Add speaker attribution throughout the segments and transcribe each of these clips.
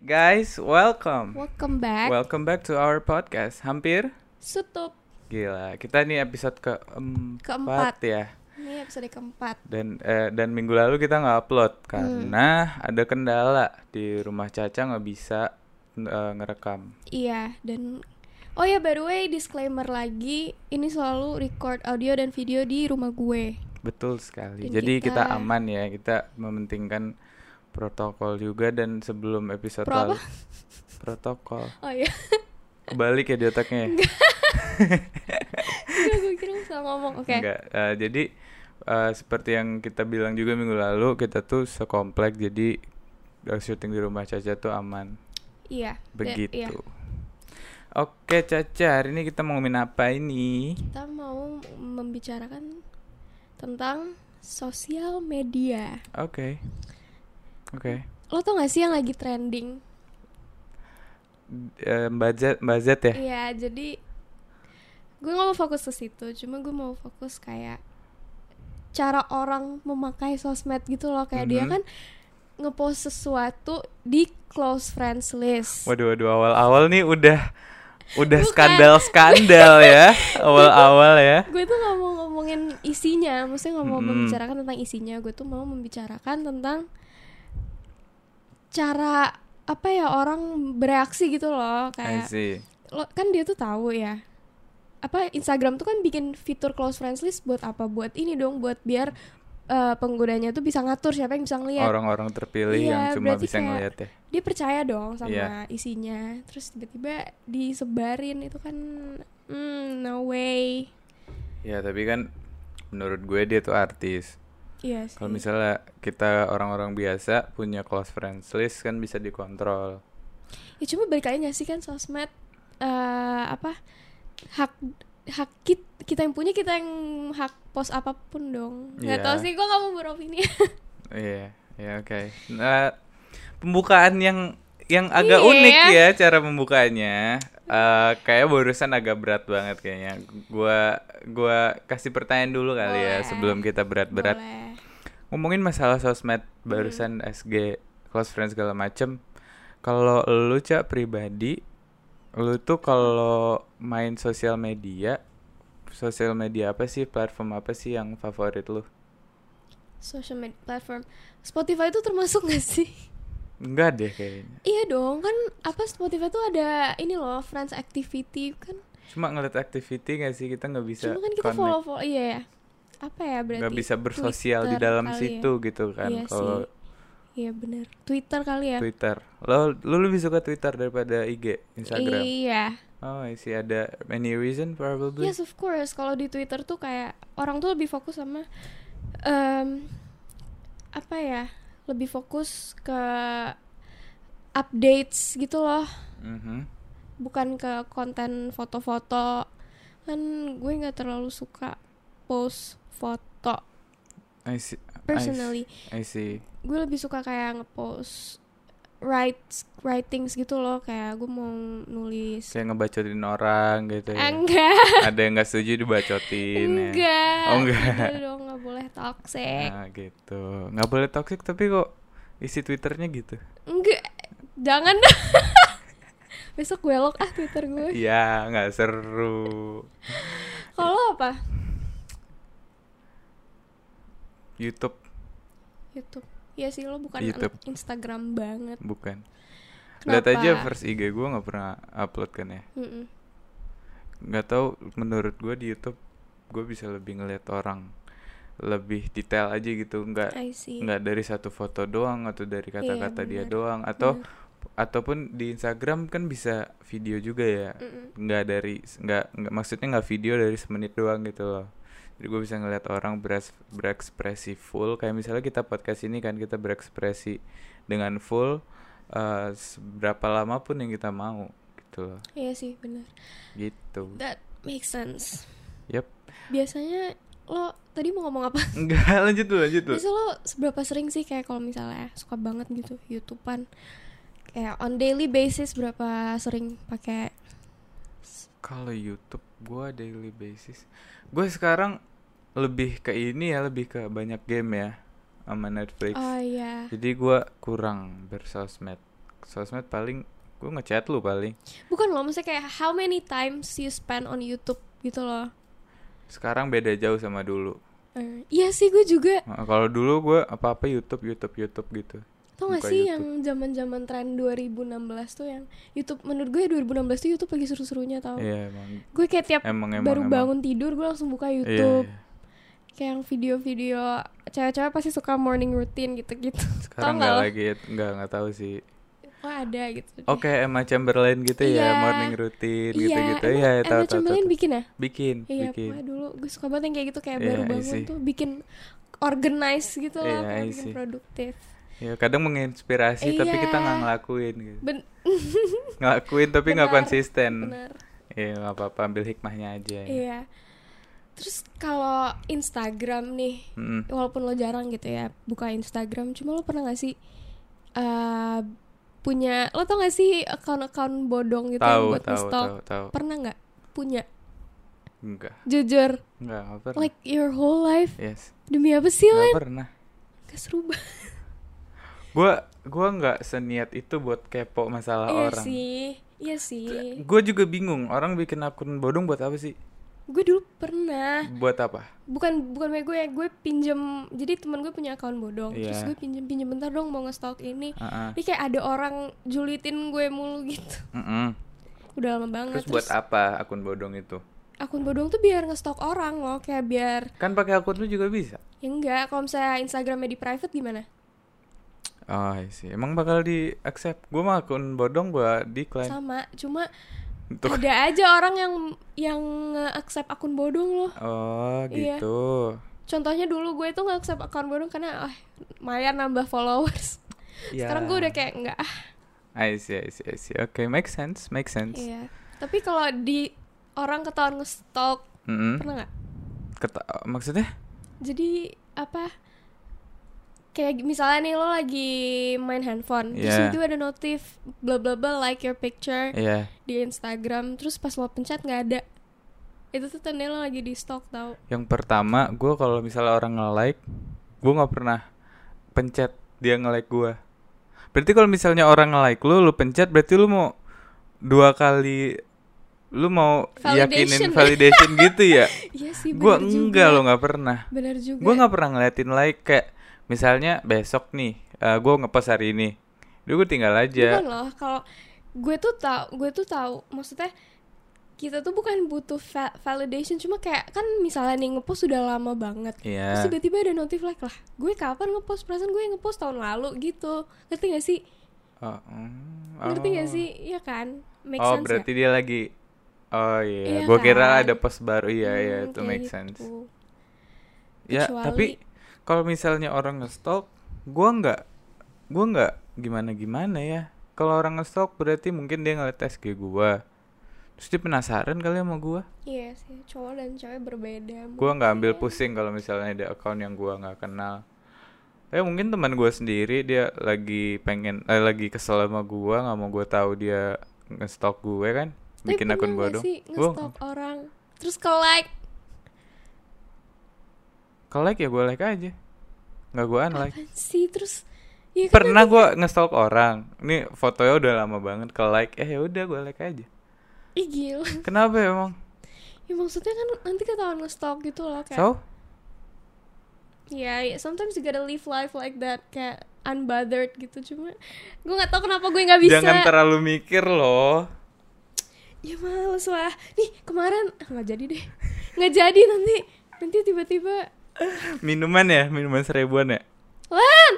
Speaker 1: Guys, welcome.
Speaker 2: Welcome back.
Speaker 1: Welcome back to our podcast. Hampir
Speaker 2: Sutup.
Speaker 1: gila. Kita nih episode keempat
Speaker 2: Keempat.
Speaker 1: ya.
Speaker 2: Ini episode keempat.
Speaker 1: Dan eh, dan minggu lalu kita nggak upload karena ada kendala di rumah Caca nggak bisa eh, ngerekam.
Speaker 2: Iya, dan Oh ya, by the way, disclaimer lagi, ini selalu record audio dan video di rumah gue.
Speaker 1: Betul sekali.
Speaker 2: Dan
Speaker 1: Jadi kita...
Speaker 2: kita-
Speaker 1: aman ya. Kita mementingkan protokol juga dan sebelum episode
Speaker 2: Pro apa?
Speaker 1: lalu protokol
Speaker 2: Oh iya,
Speaker 1: kebalik ya di otaknya. ya?
Speaker 2: Enggak, gue kira lu salah ngomong. Oke.
Speaker 1: Enggak, eh, jadi eh, seperti yang kita bilang juga minggu lalu kita tuh sekomplek jadi eh, syuting di rumah Caca tuh aman
Speaker 2: Iya. da-
Speaker 1: begitu.
Speaker 2: iya.
Speaker 1: Oke Caca, hari ini kita mau ngomongin apa ini?
Speaker 2: Kita mau membicarakan tentang sosial media.
Speaker 1: Oke, oke.
Speaker 2: Lo tau gak sih yang lagi trending?
Speaker 1: Eh, Mbak Z, Mbak Z ya.
Speaker 2: Iya, jadi gue gak mau fokus ke situ, cuma gue mau fokus kayak cara orang memakai sosmed gitu loh, kayak dia
Speaker 1: Mhm.
Speaker 2: kan ngepost sesuatu di close friends list.
Speaker 1: Waduh, waduh, awal-awal nih udah udah
Speaker 2: Bukan.
Speaker 1: skandal-skandal ya, awal-awal ya.
Speaker 2: Gue tuh gak mau ngomongin isinya, maksudnya gak mau
Speaker 1: Mhm.
Speaker 2: membicarakan tentang isinya, gue tuh mau membicarakan tentang cara apa ya orang bereaksi gitu
Speaker 1: I
Speaker 2: loh, kayak
Speaker 1: see.
Speaker 2: lo kan dia tuh tahu ya apa Instagram tuh kan bikin fitur close friends list buat apa buat ini dong buat biar eh, penggunanya tuh bisa ngatur siapa yang bisa ngeliat
Speaker 1: Orang-orang terpilih
Speaker 2: Iya,
Speaker 1: yang cuma
Speaker 2: berarti
Speaker 1: bisa
Speaker 2: kayak-
Speaker 1: ngeliat ya.
Speaker 2: dia percaya dong sama
Speaker 1: Iya.
Speaker 2: isinya terus tiba-tiba disebarin itu kan mm, no way
Speaker 1: Ya tapi kan menurut gue dia tuh artis.
Speaker 2: iya sih
Speaker 1: Kalau misalnya kita orang-orang biasa punya close friends list kan bisa dikontrol.
Speaker 2: ya cuma balik lagi nggak sih kan sosmed eh, apa hak hak kita, kita yang punya kita yang hak post apapun dong nggak
Speaker 1: Iya.
Speaker 2: tahu sih gue nggak mau beropini
Speaker 1: Iya, ya oke. Nah, pembukaan yang yang agak
Speaker 2: Iya.
Speaker 1: unik ya cara membukanya. Eh kayak barusan agak berat banget kayaknya. Gua gua kasih pertanyaan dulu kali ya
Speaker 2: Boleh.
Speaker 1: sebelum kita berat-berat.
Speaker 2: Boleh.
Speaker 1: Ngomongin masalah sosmed
Speaker 2: Hmm.
Speaker 1: barusan SG close friends segala macem. Kalau lu cak pribadi, lu tuh kalau main sosial media, sosial media apa sih platform apa sih yang favorit lu?
Speaker 2: social media platform Spotify itu termasuk gak sih?
Speaker 1: Enggak deh kayaknya.
Speaker 2: iya dong kan apa Spotify tuh ada ini loh friends activity kan
Speaker 1: Cuma ngeliat activity gak sih kita nggak bisa
Speaker 2: cuma kan kita
Speaker 1: Iya, connect,
Speaker 2: follow follow iya ya apa ya berarti
Speaker 1: nggak bisa bersosial di
Speaker 2: Twitter
Speaker 1: dalam
Speaker 2: kali ya.
Speaker 1: situ gitu kan.
Speaker 2: Iya
Speaker 1: kalau
Speaker 2: sih. iya bener Twitter kali ya
Speaker 1: Twitter, lo lu lebih suka Twitter daripada IG, Instagram.
Speaker 2: iya
Speaker 1: Oh, sih ada any reason probably.
Speaker 2: yes of course kalau di Twitter tuh kayak orang tuh lebih fokus sama em, apa ya lebih fokus ke updates gitu loh
Speaker 1: Mhm.
Speaker 2: bukan ke konten foto-foto kan gue nggak terlalu suka post foto
Speaker 1: I see.
Speaker 2: personally
Speaker 1: I see.
Speaker 2: gue lebih suka kayak ngepost write writings gitu loh kayak gue mau nulis
Speaker 1: Kayak ngebacotin orang gitu ya.
Speaker 2: enggak
Speaker 1: Ada yang nggak setuju dibacotin ya.
Speaker 2: enggak
Speaker 1: Oh, enggak.
Speaker 2: Udah dong nggak boleh toxic
Speaker 1: Nah, gitu. Nggak boleh toxic tapi kok isi twitternya gitu.
Speaker 2: enggak jangan dah besok gue lock ah twitter gue
Speaker 1: Iya, nggak seru.
Speaker 2: kalau apa
Speaker 1: YouTube
Speaker 2: YouTube ya sih lo bukan
Speaker 1: YouTube.
Speaker 2: anak Instagram banget
Speaker 1: bukan. Lihat
Speaker 2: Kenapa?
Speaker 1: aja first IG gue nggak pernah upload kan ya.
Speaker 2: Mm-mm.
Speaker 1: Nggak tahu menurut gue di YouTube gue bisa lebih ngeliat orang lebih detail aja gitu nggak
Speaker 2: I see
Speaker 1: nggak dari satu foto doang atau dari kata-kata dia
Speaker 2: Iya, benar,
Speaker 1: doang atau ataupun di Instagram kan bisa video juga ya
Speaker 2: Mm-mm.
Speaker 1: nggak dari nggak nggak- maksudnya nggak video dari semenit doang gitu loh jadi gue bisa ngeliat orang beres, berekspresi full kayak misalnya kita podcast ini kan kita berekspresi dengan full eh, seberapa lama pun yang kita mau gitu loh
Speaker 2: Iya sih benar.
Speaker 1: gitu
Speaker 2: That makes sense.
Speaker 1: yep
Speaker 2: Biasanya lo tadi mau ngomong apa?
Speaker 1: nggak lanjut dulu lanjut dulu
Speaker 2: Biasanya lo seberapa sering sih kayak kalau misalnya suka banget gitu YouTubean kayak on daily basis berapa sering pakai
Speaker 1: Kalau YouTube gua daily basis. Gue sekarang lebih ke ini ya, lebih ke banyak game ya sama Netflix.
Speaker 2: Oh iya.
Speaker 1: Jadi gua kurang bersosmed. sosmed paling gue ngechat lu paling
Speaker 2: Bukan loh, maksudnya kayak how many times you spend on YouTube gitu loh.
Speaker 1: sekarang beda jauh sama dulu
Speaker 2: Eh, iya sih gue juga.
Speaker 1: Heeh, kalau dulu gue apa apa YouTube YouTube YouTube gitu
Speaker 2: Tau gak
Speaker 1: Buka
Speaker 2: sih
Speaker 1: YouTube.
Speaker 2: yang zaman-zaman tren 2016 tuh yang YouTube menurut gue 2016 tuh YouTube lagi seru-serunya tau.
Speaker 1: iya emang
Speaker 2: Gue kayak tiap
Speaker 1: emang emang
Speaker 2: Oh. baru
Speaker 1: emang.
Speaker 2: bangun tidur gue langsung buka
Speaker 1: Iya,
Speaker 2: YouTube.
Speaker 1: iya.
Speaker 2: Kayak yang video-video cewek-cewek pasti suka morning routine gitu-gitu.
Speaker 1: sekarang
Speaker 2: nggak
Speaker 1: nggak
Speaker 2: lo?
Speaker 1: lagi nggak nggak tahu sih
Speaker 2: Oh ada gitu. deh.
Speaker 1: oke Emma Chamberlain gitu
Speaker 2: Iya.
Speaker 1: ya morning routine
Speaker 2: Iya,
Speaker 1: gitu gitu
Speaker 2: emang
Speaker 1: ya
Speaker 2: Emma
Speaker 1: tahu tahu,
Speaker 2: Chamberlain
Speaker 1: tahu
Speaker 2: bikin ya?
Speaker 1: bikin
Speaker 2: Iya,
Speaker 1: bikin
Speaker 2: pokoknya dulu gue suka banget yang kayak gitu kayak
Speaker 1: Iya,
Speaker 2: baru
Speaker 1: I
Speaker 2: bangun
Speaker 1: see.
Speaker 2: tuh bikin organize gitu
Speaker 1: Iya,
Speaker 2: loh, pokoknya
Speaker 1: I
Speaker 2: bikin
Speaker 1: see.
Speaker 2: produktif.
Speaker 1: ya kadang menginspirasi tapi kita
Speaker 2: Iya.
Speaker 1: nggak ngelakuin gitu.
Speaker 2: Ben-
Speaker 1: ngelakuin tapi nggak
Speaker 2: Benar,
Speaker 1: konsisten
Speaker 2: benar.
Speaker 1: Iya nggak apa-apa ambil hikmahnya aja. ya.
Speaker 2: Iya. Terus kalau Instagram nih,
Speaker 1: Mm-mm.
Speaker 2: walaupun lo jarang gitu ya buka Instagram, cuma lo pernah gak sih eh punya lo tau gak sih account-account bodong gitu yang
Speaker 1: Tahu
Speaker 2: buat
Speaker 1: tahu
Speaker 2: nge-stalk?
Speaker 1: tahu tahu.
Speaker 2: Pernah nggak punya?
Speaker 1: Enggak
Speaker 2: Jujur,
Speaker 1: enggak nggak pernah.
Speaker 2: like your whole life
Speaker 1: yes
Speaker 2: demi apa sih
Speaker 1: nggak
Speaker 2: Len?
Speaker 1: pernah.
Speaker 2: Gak seru banget.
Speaker 1: Gue gua nggak seniat itu buat kepo masalah
Speaker 2: Iya
Speaker 1: orang.
Speaker 2: sih, iya sih.
Speaker 1: Gue juga bingung orang bikin akun bodong buat apa sih?
Speaker 2: Gue dulu pernah,
Speaker 1: Buat apa?
Speaker 2: bukan bukan punya gue ya, gue pinjem. Jadi teman gue punya account bodong, terus
Speaker 1: Iya.
Speaker 2: gue pinjem pinjem bentar dong mau ngestalk ini.
Speaker 1: Heeh.
Speaker 2: Ini kayak ada orang julitin gue mulu gitu.
Speaker 1: Mm-mm.
Speaker 2: Udah lama banget.
Speaker 1: Terus buat apa akun bodong itu?
Speaker 2: akun bodong tuh biar ngestok orang loh, kayak biar
Speaker 1: Kan pakai akun lu juga bisa.
Speaker 2: ya enggak kalau misalnya Instagramnya di private gimana?
Speaker 1: Oh sih, emang bakal di accept? Gue mah akun bodong gue decline.
Speaker 2: Sama, cuma
Speaker 1: Tuh.
Speaker 2: ada aja orang yang yang nge-accept akun bodong loh.
Speaker 1: Oh
Speaker 2: Iya.
Speaker 1: gitu.
Speaker 2: Contohnya dulu gue tuh nge-accept akun bodong karena ah, lumayan nambah followers.
Speaker 1: Ya.
Speaker 2: Sekarang gue udah kayak enggak ah.
Speaker 1: I see, I see, I see. Oke, make sense, make sense.
Speaker 2: Iya. Tapi kalau di orang ketahuan ngestok,
Speaker 1: Mm-mm.
Speaker 2: pernah nggak?
Speaker 1: Keta- maksudnya?
Speaker 2: Jadi apa? Kayak misalnya nih lo lagi main handphone, terus
Speaker 1: Iya.
Speaker 2: itu ada notif bla bla bla like your picture
Speaker 1: Iya.
Speaker 2: di Instagram, terus pas lo pencet nggak ada. Itu tuh tanda lo lagi di stok tau.
Speaker 1: Yang pertama, gue kalau misalnya orang nge-like, gue nggak pernah pencet dia nge-like gue. Berarti kalau misalnya orang nge-like lu, lu pencet, berarti lu mau dua kali, lu mau
Speaker 2: Validation.
Speaker 1: yakinin validation gitu ya?
Speaker 2: Iya sih,
Speaker 1: gue
Speaker 2: bener juga.
Speaker 1: enggak lo nggak pernah.
Speaker 2: Bener juga.
Speaker 1: Gue nggak pernah ngeliatin like kayak misalnya besok nih, eh gue ngepost hari ini, Duh gue tinggal aja.
Speaker 2: Bukan loh, kalau gue tuh tahu, gue tuh tahu maksudnya kita tuh bukan butuh va- validation cuma kayak kan misalnya nih ngepost sudah lama banget. Terus
Speaker 1: Iya.
Speaker 2: tiba-tiba ada notif like lah. Gue kapan ngepost? Perasaan gue ngepost tahun lalu gitu. Ngerti gak sih?
Speaker 1: Oh, mm,
Speaker 2: Ngerti
Speaker 1: oh.
Speaker 2: gak sih? Iya kan? Make
Speaker 1: oh
Speaker 2: sense
Speaker 1: berarti
Speaker 2: gak?
Speaker 1: dia lagi oh iya
Speaker 2: Iya
Speaker 1: gue kira
Speaker 2: kan?
Speaker 1: ada post baru iya iya
Speaker 2: Hmm,
Speaker 1: itu
Speaker 2: kayak
Speaker 1: make sense
Speaker 2: gitu.
Speaker 1: ya
Speaker 2: Kecuali-
Speaker 1: tapi kalau misalnya orang ngestalk gue nggak gue nggak gimana gimana ya kalau orang ngestalk berarti mungkin dia ngeliat SG gue terus dia penasaran kali sama gue
Speaker 2: Iya sih, cowok dan cewek berbeda.
Speaker 1: gue nggak ambil
Speaker 2: mungkin.
Speaker 1: pusing kalau misalnya ada account yang gue nggak kenal tapi mungkin teman gue sendiri dia lagi pengen eh, lagi kesel sama gue nggak mau gue tahu dia ngestalk gue kan
Speaker 2: Tapi
Speaker 1: bikin akun
Speaker 2: pernah
Speaker 1: gue
Speaker 2: gak
Speaker 1: dong
Speaker 2: sih
Speaker 1: Gua-
Speaker 2: ngestalk orang terus ke like
Speaker 1: Kalau like ya gue like aja Nggak gue unlike
Speaker 2: apaan sih terus ya kan
Speaker 1: Pernah gue ngestalk orang Ini fotonya udah lama banget ke like Eh udah gue like aja
Speaker 2: ih gila
Speaker 1: Kenapa ya, emang?
Speaker 2: ya maksudnya kan nanti ketahuan ngestalk gitu loh kayak
Speaker 1: So?
Speaker 2: ya ya, sometimes you gotta live life like that kayak unbothered gitu cuma gue nggak tahu kenapa gue nggak bisa
Speaker 1: Jangan terlalu mikir loh
Speaker 2: ya males lah nih kemarin ah, nggak jadi deh nggak jadi nanti nanti tiba-tiba
Speaker 1: Minuman ya? Minuman seribuan ya?
Speaker 2: Lan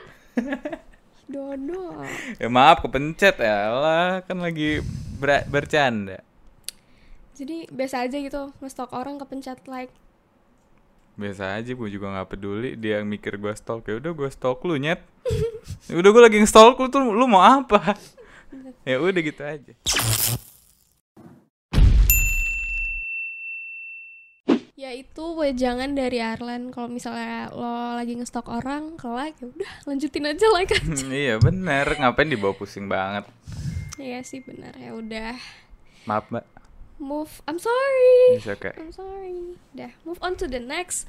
Speaker 2: Dodo
Speaker 1: Ya maaf kepencet ya lah Kan lagi ber- bercanda
Speaker 2: jadi biasa aja gitu ngestalk orang kepencet like
Speaker 1: Biasa aja gue juga nggak peduli Dia yang mikir gue stalk ya udah gue stalk lu nyet Ya udah gue lagi ngestalk lu tuh Lu mau apa? ya udah gitu aja
Speaker 2: yaitu Ya, wejangan dari Arlan kalau misalnya lo lagi ngestok orang ke like ya udah lanjutin aja like aja
Speaker 1: Iya bener Ngapain dibawa pusing banget
Speaker 2: iya sih benar ya udah
Speaker 1: Maaf mbak
Speaker 2: move I'm sorry
Speaker 1: It's okay.
Speaker 2: I'm sorry dah move on to the next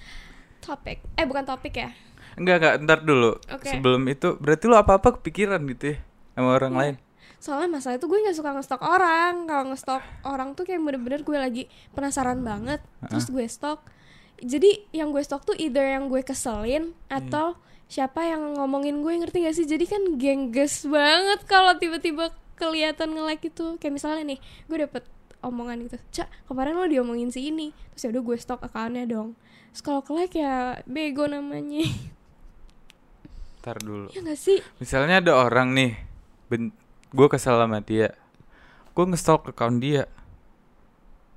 Speaker 2: topic eh bukan topik ya
Speaker 1: Enggak enggak ntar dulu
Speaker 2: Oke. Iya.
Speaker 1: Sebelum itu berarti lo apa-apa kepikiran gitu ya Sama orang lain
Speaker 2: soalnya masalah itu gue nggak suka ngestok orang kalau ngestok orang tuh kayak bener-bener gue lagi penasaran banget terus gue stok jadi yang gue stok tuh either yang gue keselin atau siapa yang ngomongin gue ngerti gak sih jadi kan gengges banget kalau tiba-tiba kelihatan nge-like itu kayak misalnya nih gue dapet omongan gitu cak kemarin lo diomongin si ini terus ya udah gue stok akunnya dong terus kalau ke like ya bego namanya
Speaker 1: Ntar dulu.
Speaker 2: ya gak sih
Speaker 1: Misalnya ada orang nih, ben- gue kesel sama dia, gue ngestalk account dia.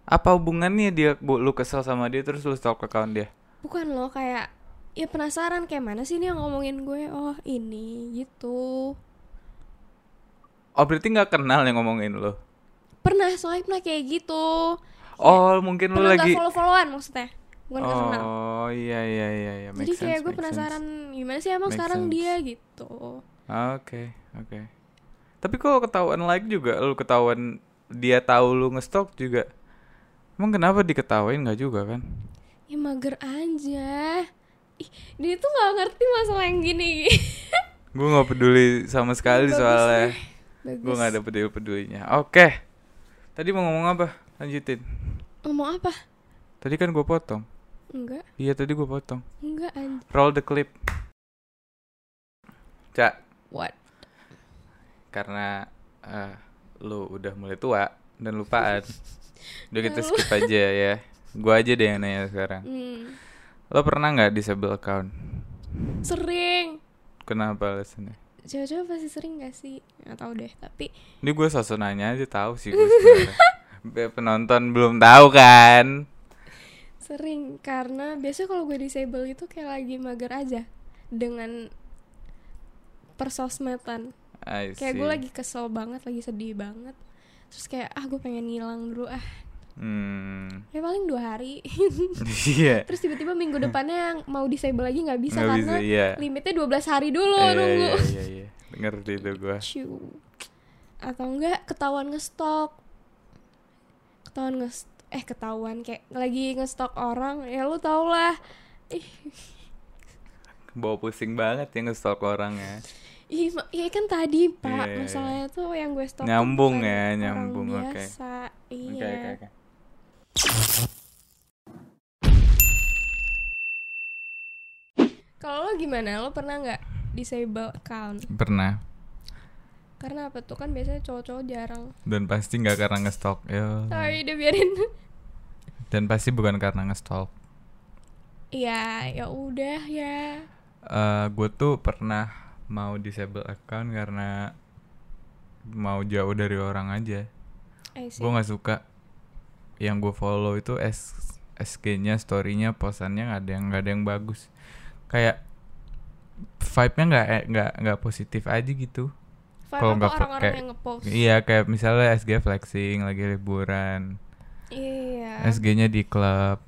Speaker 1: Apa hubungannya dia bu, lu kesel sama dia terus lu stalk account dia?
Speaker 2: bukan lo kayak ya penasaran kayak mana sih ini yang ngomongin gue oh ini gitu
Speaker 1: Oh berarti nggak kenal yang ngomongin
Speaker 2: Iya.
Speaker 1: lu?
Speaker 2: pernah soalnya pernah kayak gitu
Speaker 1: Oh mungkin lu
Speaker 2: pernah nggak
Speaker 1: lagi.
Speaker 2: follow-followan maksudnya bukan nggak kenal
Speaker 1: Oh iya iya iya iya.
Speaker 2: jadi
Speaker 1: make
Speaker 2: kayak
Speaker 1: sense,
Speaker 2: gue
Speaker 1: make
Speaker 2: penasaran
Speaker 1: sense.
Speaker 2: gimana sih emang
Speaker 1: Make
Speaker 2: sekarang
Speaker 1: sense.
Speaker 2: dia gitu
Speaker 1: Ah, Oke oke. Tapi kalau ketahuan like juga, lu ketahuan dia tahu lu ngestalk juga. Emang kenapa diketawain nggak juga kan?
Speaker 2: ya mager aja ih dia tuh nggak ngerti masalah yang gini
Speaker 1: Gue nggak peduli sama sekali
Speaker 2: Bagus
Speaker 1: soalnya.
Speaker 2: deh. bagus
Speaker 1: Gue gak ada peduli-pedulinya Oke Tadi mau ngomong apa? Lanjutin
Speaker 2: ngomong apa
Speaker 1: Tadi kan gue potong
Speaker 2: enggak
Speaker 1: Iya tadi gue potong
Speaker 2: enggak anj-
Speaker 1: Roll the clip Cak
Speaker 2: what
Speaker 1: Karena eh, Lu udah mulai tua Dan lupaan Udah kita
Speaker 2: Lu.
Speaker 1: skip aja ya Gue aja deh yang nanya sekarang
Speaker 2: hmm.
Speaker 1: Lo pernah gak disable account?
Speaker 2: sering
Speaker 1: Kenapa alasannya?
Speaker 2: cewek-cewek pasti sering gak sih nggak tahu deh tapi
Speaker 1: Ini gue sosok nanya aja tahu sih gue sebenarnya. Biar Penonton belum tahu kan
Speaker 2: sering karena biasanya kalau gue disable itu kayak lagi mager aja dengan persosmedan
Speaker 1: I
Speaker 2: kayak gue
Speaker 1: see.
Speaker 2: lagi kesel banget lagi sedih banget terus kayak ah gue pengen ngilang dulu ah
Speaker 1: Hmm
Speaker 2: ya paling dua hari
Speaker 1: Iya
Speaker 2: terus tiba-tiba minggu depannya yang mau disable lagi nggak bisa
Speaker 1: Nggak
Speaker 2: karena
Speaker 1: iya.
Speaker 2: limitnya 12 hari dulu
Speaker 1: Iya,
Speaker 2: nunggu
Speaker 1: Iya, iya, iya. Ngerti itu gua.
Speaker 2: Ciu. atau enggak ketahuan ngestok ketahuan ngestok eh ketahuan kayak lagi ngestok orang ya lu tau lah ih
Speaker 1: Bawa pusing banget ya ngestalk orang ya.
Speaker 2: ih, ma- ya kan tadi
Speaker 1: Iya,
Speaker 2: pak
Speaker 1: iya,
Speaker 2: masalahnya tuh yang gue stok
Speaker 1: Nyambung ya, nyambung,
Speaker 2: orang
Speaker 1: oke.
Speaker 2: biasa iya
Speaker 1: Oke, oke, oke.
Speaker 2: kalau lo gimana lo pernah nggak disable account
Speaker 1: Pernah
Speaker 2: karena apa tuh kan biasanya cowok-cowok jarang
Speaker 1: dan pasti nggak karena ngestalk ya.
Speaker 2: sorry udah biarin
Speaker 1: Dan pasti bukan karena ngestalk.
Speaker 2: ya ya udah ya
Speaker 1: Eh gue tuh pernah mau disable account karena mau jauh dari orang aja.
Speaker 2: I see.
Speaker 1: Gue nggak suka yang gue follow itu S SG-nya, story-nya, posannya nggak ada yang nggak ada yang bagus. Kayak vibe-nya nggak e, nggak nggak positif aja gitu.
Speaker 2: Vibe
Speaker 1: kalau
Speaker 2: apa
Speaker 1: nggak
Speaker 2: orang-orang
Speaker 1: pakai-
Speaker 2: yang ngepost
Speaker 1: Iya kayak misalnya SG flexing lagi liburan,
Speaker 2: iya
Speaker 1: SG-nya di klub.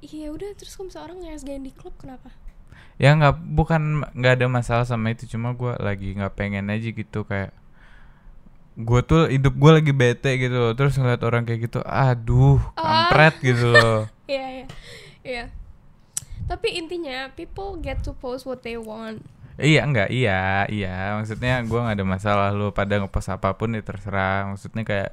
Speaker 2: iya udah terus kalau misalnya orang nge SG di klub kenapa
Speaker 1: Ya nggak bukan nggak ada masalah sama itu cuma gua lagi nggak pengen aja gitu kayak gue tuh hidup gua lagi bete gitu loh terus ngeliat orang kayak gitu aduh kampret gitu loh
Speaker 2: iya iya iya tapi intinya people get to post what they want
Speaker 1: iya enggak iya iya maksudnya gua nggak ada masalah lu pada ngepost apapun ya terserah maksudnya kayak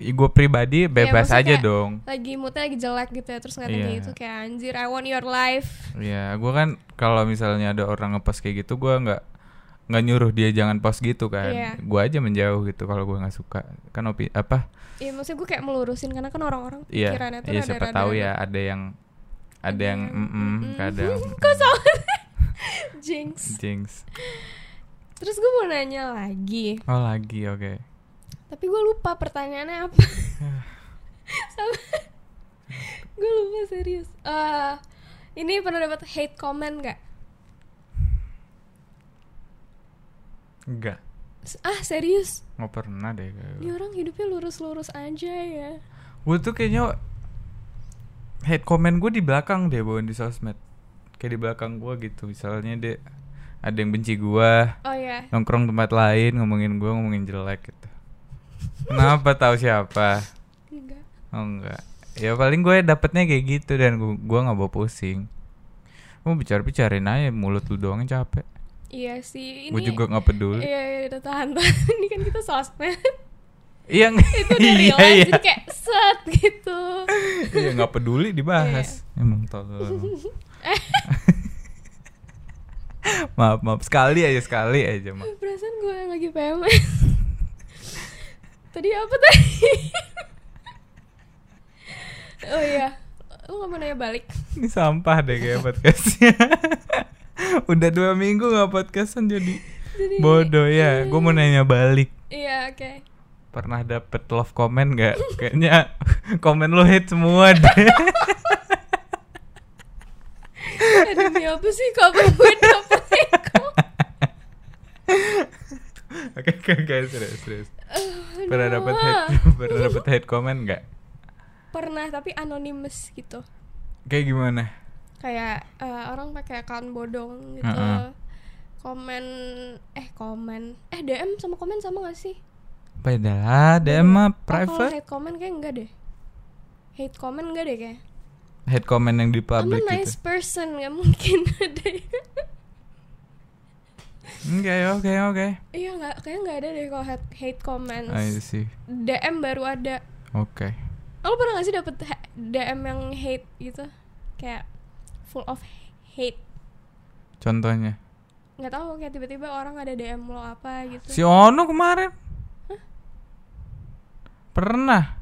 Speaker 1: gue pribadi bebas
Speaker 2: Iya, maksudnya
Speaker 1: aja
Speaker 2: kayak-
Speaker 1: dong
Speaker 2: lagi moodnya lagi jelek gitu ya terus ngeliatnya
Speaker 1: Iya.
Speaker 2: kayak gitu kayak anjir I want your life
Speaker 1: Iya, gua kan kalau misalnya ada orang ngepost kayak gitu, gua nggak nggak nyuruh dia jangan post gitu kan.
Speaker 2: Iya.
Speaker 1: Gua aja menjauh gitu kalau gua nggak suka. Kan opi apa?
Speaker 2: ya maksudnya gue kayak melurusin karena kan orang-orang
Speaker 1: Iya.
Speaker 2: pikirannya tuh
Speaker 1: Iya,
Speaker 2: rada-rada
Speaker 1: siapa tahu ya ada yang ada yang mm-mm, kadang
Speaker 2: kok soalnya jinx
Speaker 1: jinx.
Speaker 2: terus gue mau nanya lagi
Speaker 1: Oh, lagi oke.
Speaker 2: tapi gue lupa pertanyaannya apa sama gue lupa serius Eh, ini pernah dapat hate comment gak
Speaker 1: Enggak.
Speaker 2: S- ah serius
Speaker 1: Nggak pernah deh. kayak
Speaker 2: ini orang hidupnya lurus-lurus aja ya
Speaker 1: Gue tuh kayaknya hate comment gue di belakang deh bawain di sosmed. Kayak di belakang gua gitu. Misalnya deh ada yang benci gua,
Speaker 2: oh ya
Speaker 1: nongkrong tempat lain ngomongin gue ngomongin jelek gitu kenapa tahu siapa
Speaker 2: enggak
Speaker 1: oh enggak ya paling gue dapetnya kayak gitu dan gue nggak bawa pusing mau bicara bicarain aja mulut lu doang yang capek
Speaker 2: Iya sih. Ini,
Speaker 1: Gue juga nggak peduli.
Speaker 2: Iya, iya, udah tahan tahan. Ini kan kita sosmed.
Speaker 1: Iya nggak-
Speaker 2: Itu udah
Speaker 1: iya,
Speaker 2: realize
Speaker 1: iya.
Speaker 2: jadi kayak set gitu.
Speaker 1: Iya nggak peduli dibahas. Emang tolong. maaf maaf sekali aja sekali aja maaf.
Speaker 2: Perasaan gue yang lagi PMS. tadi apa tadi? oh iya. Lu gak mau nanya balik?
Speaker 1: Ini sampah deh kayak podcastnya. Udah dua minggu nggak podcastan jadi
Speaker 2: Jadi-
Speaker 1: bodoh ya. Gue mau nanya balik.
Speaker 2: Iya, oke.
Speaker 1: Pernah dapet love comment nggak? Kayaknya komen lo hate semua deh.
Speaker 2: Eh, Demi apa sih kabar gue dapet Eko?
Speaker 1: Oke oke oke serius serius.
Speaker 2: Aduh.
Speaker 1: Pernah dapet hate pernah dapet hate comment nggak?
Speaker 2: Pernah, tapi anonymous gitu.
Speaker 1: Kayak gimana?
Speaker 2: Kayak eh, orang pakai akun bodong gitu.
Speaker 1: Heeh.
Speaker 2: Komen eh komen eh DM sama komen sama gak sih?
Speaker 1: Padahal DM mah
Speaker 2: Oh, kalau
Speaker 1: private.
Speaker 2: hate comment kayak enggak deh. Hate comment enggak deh kayak.
Speaker 1: Hate comment yang di
Speaker 2: I'm a
Speaker 1: public gitu.
Speaker 2: nice person, nggak mungkin ada.
Speaker 1: Oke ya, oke oke.
Speaker 2: Iya nggak, kayaknya nggak ada deh kalau hate, hate comments.
Speaker 1: I see.
Speaker 2: DM baru ada.
Speaker 1: Oke.
Speaker 2: Lo pernah gak sih dapet ha- DM yang hate gitu? Kayak full of hate.
Speaker 1: Contohnya.
Speaker 2: Nggak tahu kayak tiba-tiba orang ada DM lo apa
Speaker 1: Si
Speaker 2: gitu.
Speaker 1: Ono kemarin. Pernah.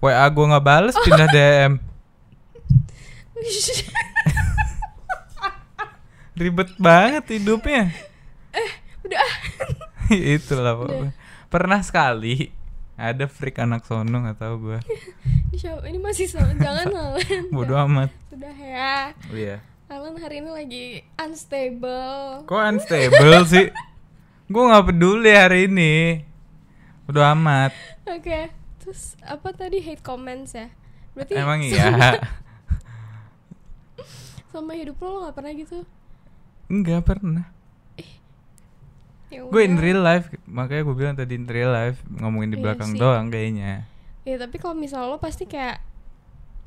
Speaker 1: WA gua nggak bales pindah DM. Ribet banget hidupnya.
Speaker 2: Udah. ah.
Speaker 1: Itulah pokoknya. Pernah sekali ada freak anak sono nggak tahu gua.
Speaker 2: Ini, siapa- ini masih sama. Jangan Alan.
Speaker 1: Bodoh amat.
Speaker 2: Udah ya.
Speaker 1: Iya.
Speaker 2: Alan hari ini lagi unstable.
Speaker 1: Kok unstable sih? Gua nggak peduli hari ini. Bodoh amat.
Speaker 2: Oke. Terus apa tadi hate comments ya? Berarti
Speaker 1: Emang
Speaker 2: sama,
Speaker 1: iya.
Speaker 2: sama hidup lo, lo gak pernah gitu?
Speaker 1: Enggak pernah.
Speaker 2: Ya
Speaker 1: Gue in
Speaker 2: udah.
Speaker 1: real life, makanya gue bilang tadi in real life ngomongin di
Speaker 2: Iya
Speaker 1: belakang
Speaker 2: sih.
Speaker 1: doang kayaknya.
Speaker 2: Ya tapi kalau misalnya lo pasti kayak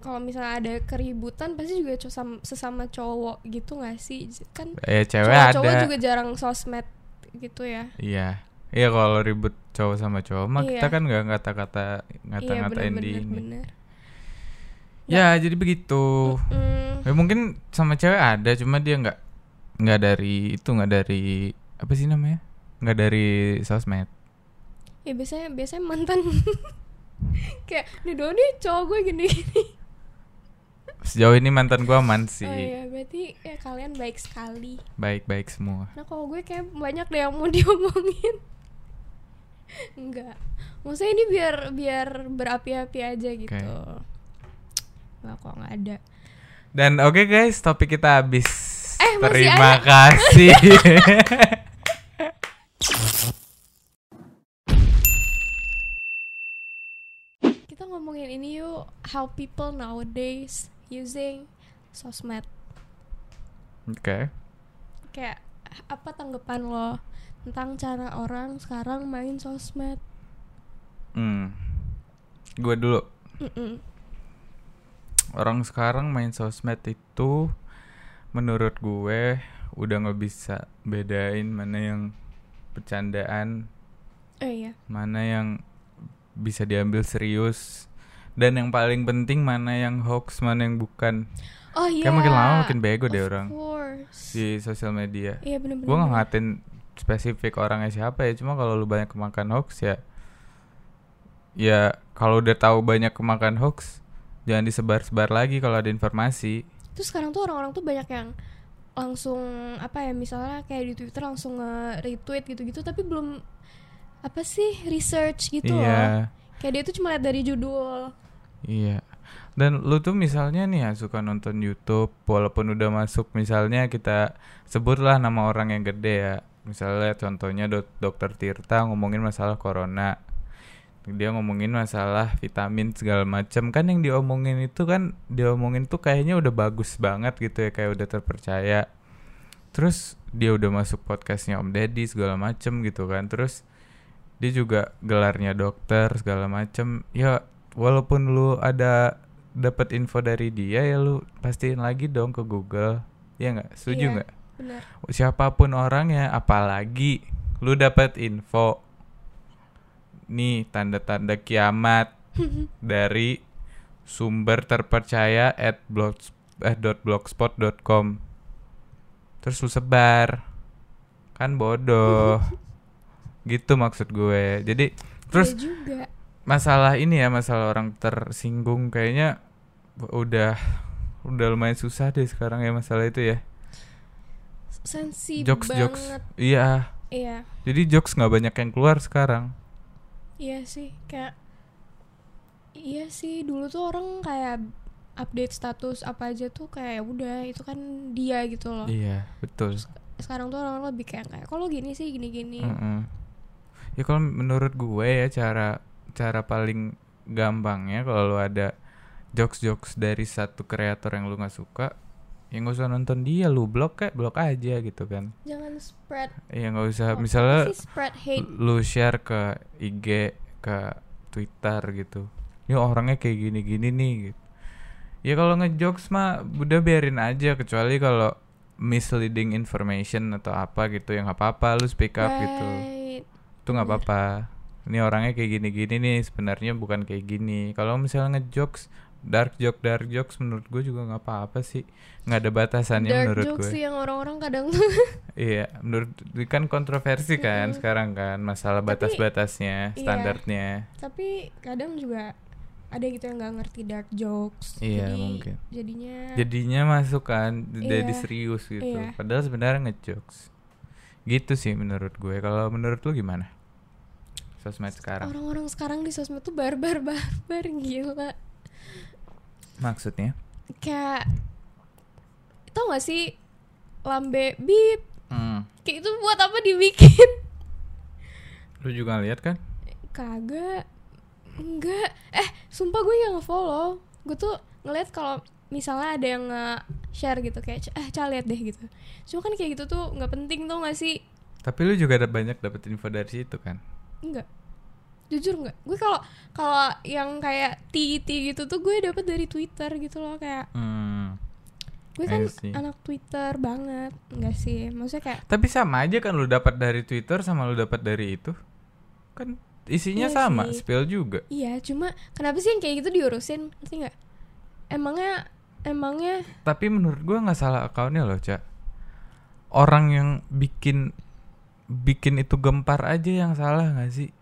Speaker 2: kalau misalnya ada keributan pasti juga co- sam- sesama cowok gitu gak sih? J- Kan
Speaker 1: Ya cewek
Speaker 2: cowok-cowok
Speaker 1: ada.
Speaker 2: juga jarang sosmed gitu ya.
Speaker 1: Iya. Iya kalau ribut cowok sama cowok mah kita
Speaker 2: Iya.
Speaker 1: kan nggak ngata-kata ngata-ngatain di
Speaker 2: bener-bener,
Speaker 1: ini.
Speaker 2: Iya, bener.
Speaker 1: Ya jadi begitu.
Speaker 2: Mm,
Speaker 1: Ya, mungkin sama cewek ada cuma dia nggak nggak dari itu nggak dari apa sih namanya? Nggak dari sosmed.
Speaker 2: ya biasanya biasanya mantan kayak nih doang nih cowok gue gini-gini.
Speaker 1: Sejauh ini mantan gua aman
Speaker 2: Oh
Speaker 1: sih.
Speaker 2: iya, berarti ya kalian baik sekali.
Speaker 1: Baik-baik semua.
Speaker 2: Nah kalau gue kayak banyak deh yang mau diomongin Enggak Maksudnya ini biar biar berapi-api aja gitu Nggak kok nggak ada
Speaker 1: Dan oke guys, topik kita habis.
Speaker 2: Eh, masih
Speaker 1: Terima
Speaker 2: ada.
Speaker 1: kasih.
Speaker 2: Kita ngomongin ini yuk How people nowadays using sosmed
Speaker 1: Oke.
Speaker 2: Kayak apa tanggapan lo tentang cara orang sekarang main sosmed
Speaker 1: Hmm. Gue dulu.
Speaker 2: Mm-mm.
Speaker 1: Orang sekarang main sosmed itu menurut gue udah nggak bisa bedain mana yang bercandaan,
Speaker 2: Oh iya
Speaker 1: mana yang bisa diambil serius dan yang paling penting mana yang hoax, mana yang bukan.
Speaker 2: Oh iya
Speaker 1: Kayak makin lama makin bego deh
Speaker 2: Of
Speaker 1: orang
Speaker 2: course.
Speaker 1: di sosial media.
Speaker 2: Iya bener-bener
Speaker 1: Gue nggak ngatain spesifik orangnya siapa ya, cuma kalau lu banyak kemakan hoax ya ya kalau udah tahu banyak kemakan hoax jangan disebar-sebar lagi kalau ada informasi
Speaker 2: Terus sekarang tuh orang-orang tuh banyak yang langsung apa ya misalnya kayak di Twitter langsung nge-retweet gitu-gitu tapi belum apa sih research gitu loh.
Speaker 1: iya
Speaker 2: Kayak dia tuh cuma lihat dari judul.
Speaker 1: iya dan lu tuh misalnya nih ya suka nonton YouTube walaupun udah masuk misalnya kita sebutlah nama orang yang gede ya misalnya contohnya dok dokter Tirta ngomongin masalah corona dia ngomongin masalah vitamin segala macam kan yang diomongin itu kan diomongin tuh kayaknya udah bagus banget gitu ya kayak udah terpercaya terus dia udah masuk podcastnya Om Deddy segala macem gitu kan terus dia juga gelarnya dokter segala macem ya walaupun lu ada dapat info dari dia ya lu pastiin lagi dong ke Google ya nggak setuju
Speaker 2: Iya.
Speaker 1: nggak
Speaker 2: benar
Speaker 1: siapapun orangnya apalagi lu dapat info nih tanda-tanda kiamat dari sumber terpercaya at blog eh, dot blogspot.com terus lu sebar kan bodoh gitu maksud gue jadi terus
Speaker 2: Iya juga
Speaker 1: masalah ini ya masalah orang tersinggung kayaknya udah udah lumayan susah deh sekarang ya masalah itu ya
Speaker 2: sensi
Speaker 1: jokes
Speaker 2: banget
Speaker 1: jokes iya
Speaker 2: iya
Speaker 1: jadi jokes nggak banyak yang keluar sekarang
Speaker 2: iya sih kayak iya sih dulu tuh orang kayak update status apa aja tuh kayak udah itu kan dia gitu loh
Speaker 1: iya betul
Speaker 2: sekarang tuh orang lebih kayak kayak kalau gini sih gini gini
Speaker 1: Mm-mm. ya kalau menurut gue ya cara cara paling gampangnya kalau lu ada jokes jokes dari satu kreator yang lu nggak suka ya nggak usah nonton dia lu blok kayak blok aja gitu kan
Speaker 2: jangan spread
Speaker 1: ya nggak usah
Speaker 2: apa
Speaker 1: misalnya
Speaker 2: sih spread hate
Speaker 1: lu share ke IG ke Twitter gitu ini orangnya kayak gini-gini nih gitu ya kalau ngejokes mah udah biarin aja kecuali kalau misleading information atau apa gitu ya nggak apa-apa lu speak up gitu
Speaker 2: Right.
Speaker 1: itu nggak
Speaker 2: bener.
Speaker 1: apa-apa ini orangnya kayak gini-gini nih sebenarnya bukan kayak gini kalau misalnya ngejokes dark joke dark jokes menurut gue juga nggak apa-apa sih nggak ada batasannya
Speaker 2: dark
Speaker 1: menurut
Speaker 2: jokes
Speaker 1: gue
Speaker 2: sih yang orang-orang kadang tuh
Speaker 1: Iya, menurut kan kontroversi kan
Speaker 2: Mm-mm.
Speaker 1: sekarang kan masalah
Speaker 2: Tapi-
Speaker 1: batas-batasnya,
Speaker 2: iya.
Speaker 1: standarnya.
Speaker 2: tapi kadang juga ada gitu yang nggak ngerti dark jokes
Speaker 1: Iya,
Speaker 2: jadi
Speaker 1: mungkin.
Speaker 2: jadinya
Speaker 1: Jadinya masuk kan jadi
Speaker 2: Iya.
Speaker 1: serius gitu.
Speaker 2: Iya.
Speaker 1: Padahal sebenarnya ngejokes. Gitu sih menurut gue. Kalau menurut lu gimana? Sosmed sekarang.
Speaker 2: orang-orang sekarang di sosmed tuh barbar barbar gila
Speaker 1: Maksudnya?
Speaker 2: kayak tau gak sih lambe bip
Speaker 1: Hmm.
Speaker 2: kayak itu buat apa dibikin
Speaker 1: Lu juga lihat kan?
Speaker 2: kagak enggak eh sumpah gue yang follow gue tuh ngeliat kalau misalnya ada yang nge-share gitu kayak eh cal liat deh gitu cuma kan kayak gitu tuh nggak penting tau gak sih
Speaker 1: Tapi lu juga ada banyak dapat info dari situ kan?
Speaker 2: enggak jujur enggak gue kalau kalau yang kayak titi gitu tuh gue dapet dari twitter gitu loh kayak
Speaker 1: Hmm.
Speaker 2: gue
Speaker 1: I
Speaker 2: kan
Speaker 1: see.
Speaker 2: anak twitter banget enggak sih maksudnya kayak
Speaker 1: Tapi sama aja kan lu dapat dari Twitter sama lu dapat dari itu. Kan isinya
Speaker 2: Iya
Speaker 1: sama,
Speaker 2: sih.
Speaker 1: spill juga.
Speaker 2: iya cuma kenapa sih yang kayak gitu diurusin ngerti nggak emangnya emangnya
Speaker 1: tapi menurut gua nggak salah akunnya loh cak orang yang bikin bikin itu gempar aja yang salah nggak sih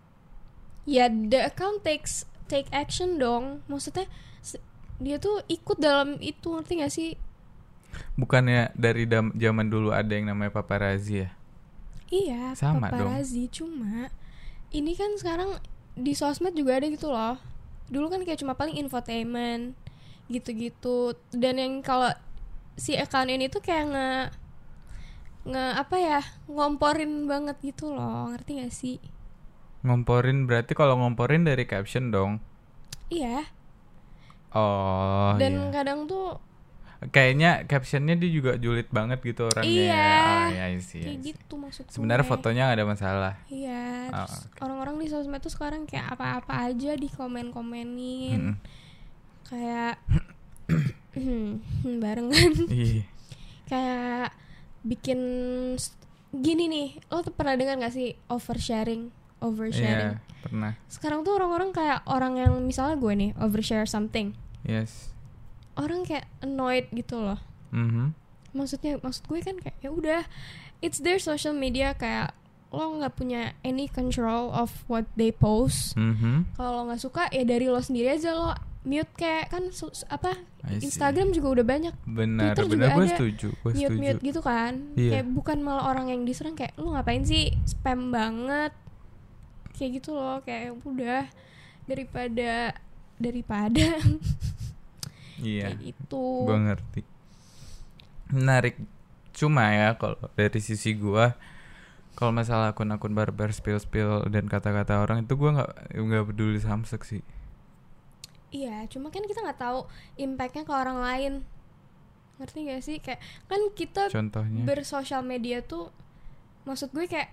Speaker 2: ya the account takes take action dong maksudnya se- dia tuh ikut dalam itu ngerti nggak sih
Speaker 1: bukannya dari dam- zaman dulu ada yang namanya paparazzi ya
Speaker 2: iya
Speaker 1: Sama dong.
Speaker 2: paparazzi cuma ini kan sekarang di sosmed juga ada gitu loh dulu kan kayak cuma paling infotainment gitu-gitu dan yang kalau si account ini tuh kayak nge nge apa ya ngomporin banget gitu loh ngerti nggak sih
Speaker 1: ngomporin berarti kalau ngomporin dari caption dong
Speaker 2: iya
Speaker 1: oh
Speaker 2: dan
Speaker 1: iya.
Speaker 2: kadang tuh
Speaker 1: kayaknya captionnya dia juga julid banget gitu orangnya
Speaker 2: Iya.
Speaker 1: oh, iya, I see, I
Speaker 2: kayak
Speaker 1: see.
Speaker 2: gitu maksudnya
Speaker 1: sebenarnya fotonya nggak ada masalah
Speaker 2: Iya,
Speaker 1: Ah,
Speaker 2: terus orang-orang di sosmed tuh sekarang kayak apa-apa aja di komen-komenin.
Speaker 1: Mm-mm.
Speaker 2: Kayak barengan
Speaker 1: Ih,
Speaker 2: kayak bikin st- gini nih. Lo tuh pernah dengar gak sih oversharing? Oversharing.
Speaker 1: iya pernah
Speaker 2: Sekarang tuh orang-orang kayak orang yang misalnya gue nih overshare something.
Speaker 1: yes
Speaker 2: Orang kayak annoyed gitu loh.
Speaker 1: Mhm.
Speaker 2: Maksudnya maksud gue kan kayak ya udah it's their social media kayak lo nggak punya any control of what they post.
Speaker 1: Mhm.
Speaker 2: kalau lo nggak suka ya dari lo sendiri aja lo mute kayak kan su- su- apa
Speaker 1: I see.
Speaker 2: Instagram juga udah banyak
Speaker 1: benar
Speaker 2: Twitter
Speaker 1: benar
Speaker 2: juga
Speaker 1: gue
Speaker 2: ada
Speaker 1: setuju gue
Speaker 2: mute
Speaker 1: setuju
Speaker 2: mute gitu kan
Speaker 1: Iya.
Speaker 2: kayak bukan malah orang yang diserang kayak lo ngapain sih spam banget kayak gitu loh kayak udah daripada daripada
Speaker 1: iya
Speaker 2: kayak gitu
Speaker 1: gue ngerti menarik cuma ya kalau dari sisi gua kalau masalah akun-akun barbar spill spill dan kata-kata orang itu gua nggak nggak peduli samsek sih
Speaker 2: iya cuma kan kita nggak tahu impactnya ke orang lain ngerti gak sih kayak kan kita
Speaker 1: contohnya
Speaker 2: bersosial media tuh maksud gue kayak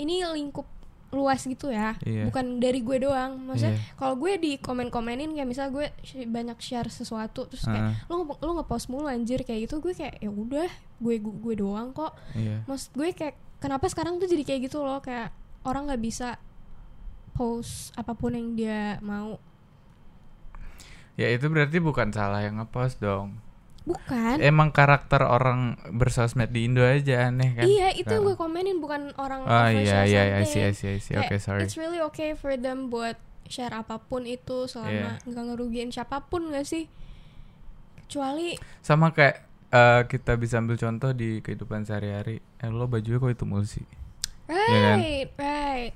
Speaker 2: ini lingkup luas gitu ya
Speaker 1: Iya.
Speaker 2: bukan dari gue doang maksudnya
Speaker 1: Iya.
Speaker 2: kalau gue di komen komenin kayak misal gue sh- banyak share sesuatu terus kayak
Speaker 1: Ah.
Speaker 2: lo nge- lo ngepost mulu anjir kayak gitu gue kayak ya udah gue gue gue doang kok
Speaker 1: iya
Speaker 2: maksud gue kayak kenapa sekarang tuh jadi kayak gitu loh kayak orang nggak bisa post apapun yang dia mau
Speaker 1: ya itu berarti bukan salah yang ngepost dong
Speaker 2: bukan
Speaker 1: emang karakter orang bersosmed di Indo aja aneh kan
Speaker 2: iya itu yang
Speaker 1: Sekarang.
Speaker 2: gue komenin bukan
Speaker 1: oh
Speaker 2: orang over
Speaker 1: iya iya iya
Speaker 2: something.
Speaker 1: I see I see I see
Speaker 2: Kayak,
Speaker 1: oke sorry
Speaker 2: it's really okay for them buat share apapun itu selama nggak ngerugiin siapapun gak sih kecuali
Speaker 1: sama kayak eh, kita bisa ambil contoh di kehidupan sehari-hari eh lo bajunya kok itu mulu sih kan?
Speaker 2: right right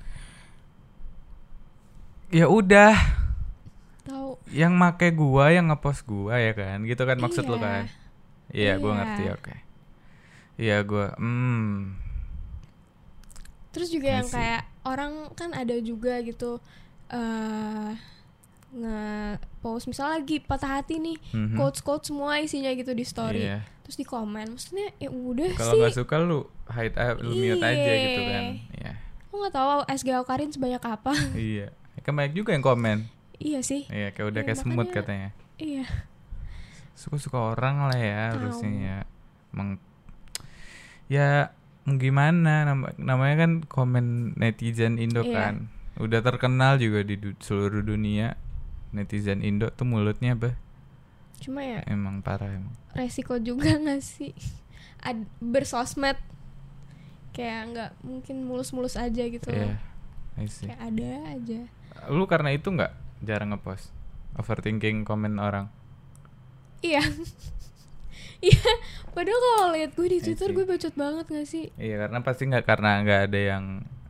Speaker 1: ya udah
Speaker 2: tahu
Speaker 1: yang make gua yang ngepost gua ya kan gitu kan maksud lo
Speaker 2: Iya.
Speaker 1: kan iya gua
Speaker 2: Iya.
Speaker 1: ngerti oke iya gua hmm
Speaker 2: terus juga
Speaker 1: I
Speaker 2: yang
Speaker 1: see.
Speaker 2: kayak orang kan ada juga gitu eh nge-post misal lagi patah hati nih
Speaker 1: mhm.
Speaker 2: quotes quotes semua isinya gitu di story
Speaker 1: Iya.
Speaker 2: terus di komen maksudnya ya udah
Speaker 1: kalau
Speaker 2: sih
Speaker 1: nggak suka lu hide ah, lu mute aja gitu kan iya
Speaker 2: lo nggak tahu SGO Karin sebanyak apa
Speaker 1: iya kan banyak juga yang komen
Speaker 2: iya sih
Speaker 1: iya kayak udah
Speaker 2: Iya,
Speaker 1: kayak semut
Speaker 2: makanya-
Speaker 1: katanya
Speaker 2: iya
Speaker 1: suka-suka orang lah ya
Speaker 2: Tahu.
Speaker 1: harusnya ya Meng- ya mau gimana nama- namanya kan komen netizen Indo
Speaker 2: Iya.
Speaker 1: kan udah terkenal juga di du- seluruh dunia netizen Indo tuh mulutnya apa
Speaker 2: cuma ya
Speaker 1: emang parah emang
Speaker 2: resiko juga nggak sih Ad- bersosmed kayak nggak mungkin mulus-mulus aja gitu
Speaker 1: Iya,
Speaker 2: loh.
Speaker 1: I see.
Speaker 2: kayak ada aja
Speaker 1: lu karena itu nggak jarang ngepost overthinking komen orang
Speaker 2: iya iya padahal kalau lihat gue di
Speaker 1: I
Speaker 2: Twitter
Speaker 1: see.
Speaker 2: gue bacot banget nggak sih
Speaker 1: iya karena pasti nggak karena nggak ada yang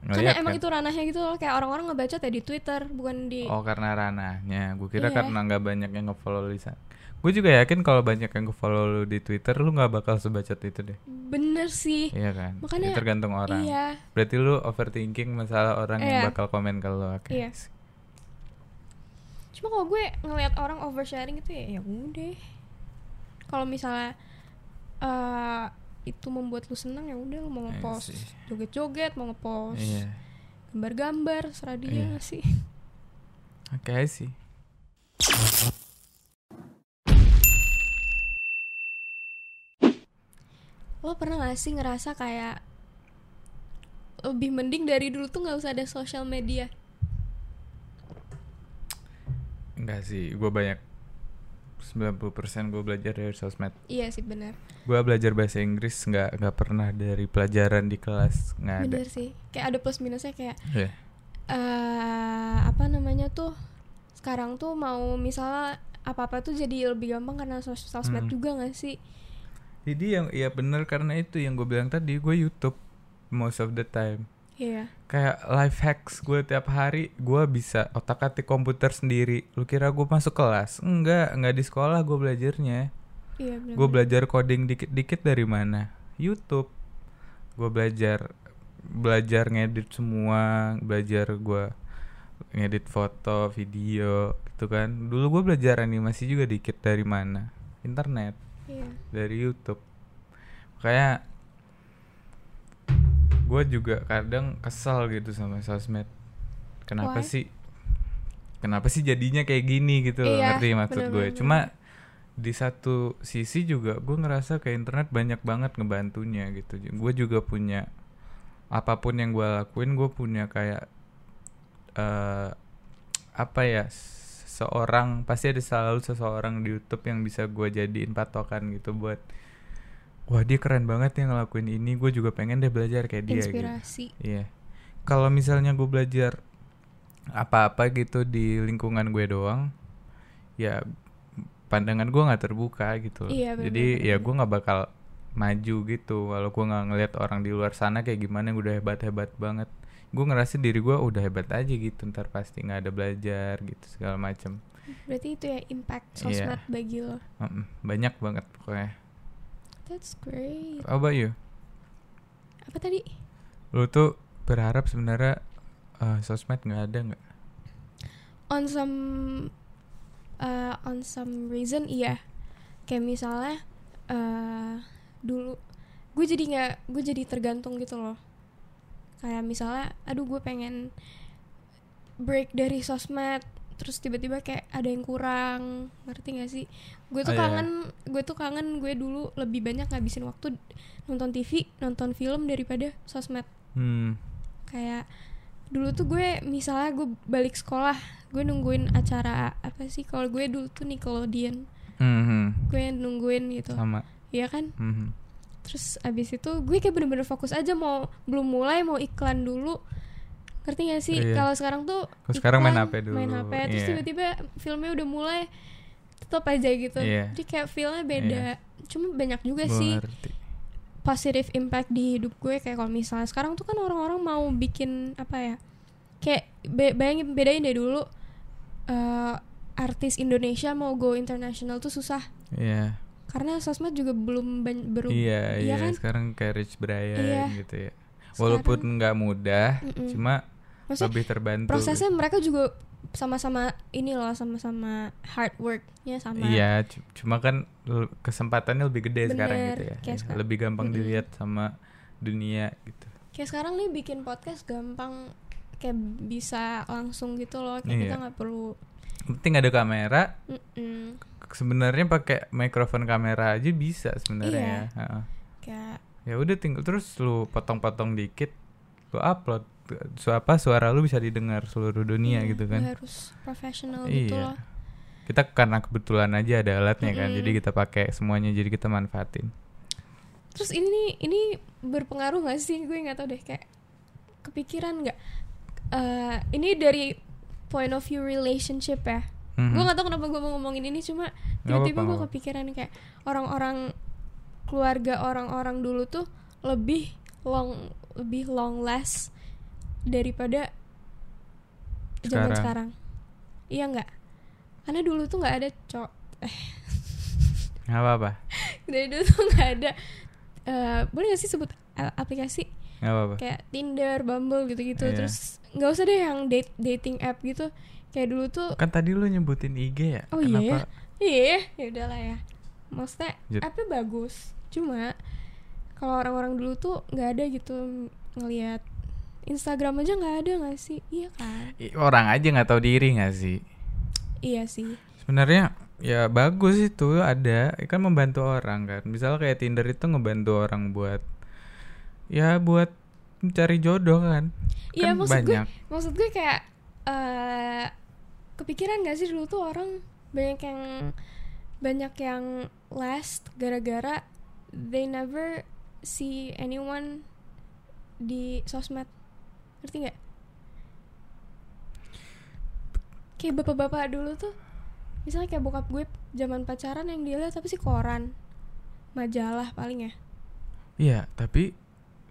Speaker 2: karena
Speaker 1: ngeliat
Speaker 2: emang
Speaker 1: kan
Speaker 2: itu ranahnya gitu loh kayak orang-orang ngebacot ya di Twitter bukan di
Speaker 1: oh karena ranahnya gue kira
Speaker 2: Iya.
Speaker 1: karena nggak banyak yang ngefollow Lisa gue juga yakin kalau banyak yang ngefollow lu di Twitter lu nggak bakal sebacot itu deh
Speaker 2: bener sih
Speaker 1: iya kan
Speaker 2: Makanya-
Speaker 1: Itu tergantung orang
Speaker 2: iya
Speaker 1: berarti lu overthinking masalah orang yang
Speaker 2: Iya.
Speaker 1: bakal komen ke lu oke
Speaker 2: Iya. cuma kalau gue ngelihat orang oversharing itu ya ya udah kalau misalnya eh, itu membuat lu senang ya udah lu mau
Speaker 1: I
Speaker 2: ngepost
Speaker 1: see.
Speaker 2: joget-joget mau ngepost
Speaker 1: iya
Speaker 2: gambar-gambar serah dia
Speaker 1: Iya.
Speaker 2: nggak sih
Speaker 1: oke I sih
Speaker 2: lo pernah gak sih ngerasa kayak lebih mending dari dulu tuh nggak usah ada sosial media
Speaker 1: enggak sih gue banyak 90% gue belajar dari sosmed
Speaker 2: iya sih benar
Speaker 1: gue belajar bahasa Inggris nggak nggak pernah dari pelajaran di kelas nggak ada
Speaker 2: benar sih kayak ada plus minusnya kayak
Speaker 1: Iya.
Speaker 2: eh apa namanya tuh sekarang tuh mau misalnya apa apa tuh jadi lebih gampang karena sos- sosmed
Speaker 1: Hmm.
Speaker 2: juga gak sih
Speaker 1: jadi yang ya bener karena itu yang gue bilang tadi gue YouTube most of the time
Speaker 2: iya
Speaker 1: kayak life hacks gue tiap hari gue bisa otak atik komputer sendiri lu kira gue masuk kelas enggak enggak di sekolah gue belajarnya
Speaker 2: iya benar
Speaker 1: gue belajar coding dikit dikit dari mana YouTube gue belajar belajar ngedit semua belajar gue ngedit foto video gitu kan dulu gue belajar animasi juga dikit dari mana internet
Speaker 2: iya
Speaker 1: dari YouTube kayak gue juga kadang kesel gitu sama sosmed kenapa
Speaker 2: Why?
Speaker 1: sih kenapa sih jadinya kayak gini gitu loh,
Speaker 2: Iya,
Speaker 1: ngerti maksud gue
Speaker 2: bener-bener.
Speaker 1: cuma di satu sisi juga gue ngerasa kayak internet banyak banget ngebantunya gitu gue juga punya apapun yang gue lakuin gue punya kayak eh apa ya s- seorang pasti ada selalu seseorang di YouTube yang bisa gue jadiin patokan gitu buat wah dia keren banget ya ngelakuin ini gue juga pengen deh belajar kayak dia gitu
Speaker 2: inspirasi
Speaker 1: iya kalau misalnya gue belajar apa-apa gitu di lingkungan gue doang ya pandangan gue nggak terbuka gitu loh.
Speaker 2: Iya,
Speaker 1: jadi
Speaker 2: bener-bener.
Speaker 1: ya gue nggak bakal maju gitu walau gue nggak ngeliat orang di luar sana kayak gimana yang udah hebat hebat banget gue ngerasa diri gue udah hebat aja gitu ntar pasti nggak ada belajar gitu segala macem
Speaker 2: berarti itu ya impact
Speaker 1: Iya.
Speaker 2: sosmed bagi lo
Speaker 1: Mm-mm, banyak banget pokoknya
Speaker 2: that's great
Speaker 1: how about you
Speaker 2: apa tadi
Speaker 1: lu tuh berharap sebenarnya eh, sosmed nggak ada nggak
Speaker 2: on some uh, on some reason iya kayak misalnya uh, dulu gue jadi nggak gue jadi tergantung gitu loh kayak misalnya aduh gue pengen break dari sosmed terus tiba-tiba kayak ada yang kurang ngerti gak sih gue tuh
Speaker 1: Oh, iya.
Speaker 2: kangen gue tuh kangen gue dulu lebih banyak ngabisin waktu d- nonton TV nonton film daripada sosmed
Speaker 1: Hmm.
Speaker 2: kayak dulu tuh gue misalnya gue balik sekolah gue nungguin acara apa sih kalau gue dulu tuh Nickelodeon
Speaker 1: Mhm.
Speaker 2: gue nungguin gitu
Speaker 1: Sama.
Speaker 2: Iya kan
Speaker 1: Mhm.
Speaker 2: terus abis itu gue kayak bener-bener fokus aja mau belum mulai mau iklan dulu ngerti gak sih
Speaker 1: Iya.
Speaker 2: kalau sekarang tuh
Speaker 1: Kalau sekarang main
Speaker 2: iklan,
Speaker 1: HP dulu,
Speaker 2: main HP terus
Speaker 1: iya.
Speaker 2: tiba-tiba filmnya udah mulai tetap aja gitu
Speaker 1: Iya.
Speaker 2: jadi kayak feelnya beda cuma banyak juga
Speaker 1: Gua
Speaker 2: sih
Speaker 1: ngerti.
Speaker 2: positive impact di hidup gue kayak kalau misalnya sekarang tuh kan orang-orang mau bikin apa ya kayak be- bayangin bedain deh dulu eh, artis Indonesia mau go international tuh susah
Speaker 1: Iya.
Speaker 2: karena sosmed juga belum ban- belum
Speaker 1: Iya, iya,
Speaker 2: kan
Speaker 1: sekarang kayak Rich Brian
Speaker 2: Iya.
Speaker 1: gitu ya. Walaupun nggak mudah,
Speaker 2: Mm-mm.
Speaker 1: cuma
Speaker 2: Maksudnya
Speaker 1: lebih terbantu.
Speaker 2: prosesnya mereka juga sama-sama ini loh sama-sama hard worknya sama
Speaker 1: Iya, cu- cuma kan l- kesempatannya lebih gede sekarang
Speaker 2: Bener,
Speaker 1: gitu ya.
Speaker 2: kayak
Speaker 1: Iya,
Speaker 2: sekarang.
Speaker 1: Lebih gampang
Speaker 2: Mm-mm.
Speaker 1: dilihat sama dunia gitu.
Speaker 2: kayak sekarang nih bikin podcast gampang kayak bisa langsung gitu loh kayak
Speaker 1: Iya.
Speaker 2: kita nggak perlu
Speaker 1: Penting ada kamera,
Speaker 2: Mm-mm.
Speaker 1: sebenarnya pakai mikrofon kamera aja bisa sebenarnya
Speaker 2: Iya.
Speaker 1: ya. Heeh.
Speaker 2: kayak
Speaker 1: Ya udah tinggal terus lu potong-potong dikit, lu upload su apa suara lu bisa didengar seluruh dunia
Speaker 2: iya,
Speaker 1: gitu kan.
Speaker 2: nggak harus profesional gitu
Speaker 1: Iya.
Speaker 2: loh
Speaker 1: Kita karena kebetulan aja ada alatnya kan,
Speaker 2: Mm-mm.
Speaker 1: jadi kita pakai semuanya jadi kita manfaatin.
Speaker 2: terus ini nih ini berpengaruh nggak sih gue nggak tahu deh kayak kepikiran nggak Eh, ini dari point of view relationship ya
Speaker 1: Mhm.
Speaker 2: gue gak tau kenapa gue mau ngomongin ini cuma
Speaker 1: Nggak
Speaker 2: tiba-tiba
Speaker 1: apa-apa,
Speaker 2: gue
Speaker 1: nggak apa-apa.
Speaker 2: kepikiran kayak orang-orang keluarga orang-orang dulu tuh lebih long lebih long last daripada zaman
Speaker 1: Sekarang.
Speaker 2: sekarang iya nggak karena dulu tuh nggak ada cowok eh
Speaker 1: Nggak apa-apa.
Speaker 2: dari dulu tuh nggak ada eh boleh gak sih sebut a- aplikasi
Speaker 1: Nggak apa-apa.
Speaker 2: kayak Tinder, Bumble gitu-gitu
Speaker 1: Iya.
Speaker 2: terus nggak usah deh yang date dating app gitu kayak dulu tuh
Speaker 1: Kan tadi lu nyebutin IG ya?
Speaker 2: Oh
Speaker 1: Kenapa?
Speaker 2: iya, iya, ya udahlah ya. Maksudnya
Speaker 1: Lanjut.
Speaker 2: apa bagus, cuma kalau orang-orang dulu tuh nggak ada gitu ngelihat Instagram aja nggak ada nggak sih? Iya kan?
Speaker 1: I- Orang aja nggak tahu diri nggak sih?
Speaker 2: Iya sih.
Speaker 1: Sebenarnya ya bagus itu ada kan membantu orang kan. Misal kayak Tinder itu ngebantu orang buat ya buat mencari jodoh kan.
Speaker 2: Iya
Speaker 1: Kan
Speaker 2: maksud
Speaker 1: banyak.
Speaker 2: gue, maksud gue kayak eh kepikiran nggak sih dulu tuh orang banyak yang banyak yang last gara-gara they never see anyone di sosmed, ngerti nggak? Kayak bapak-bapak dulu tuh, misalnya kayak bokap gue zaman pacaran yang dia lihat apa sih koran, majalah paling ya.
Speaker 1: Iya, tapi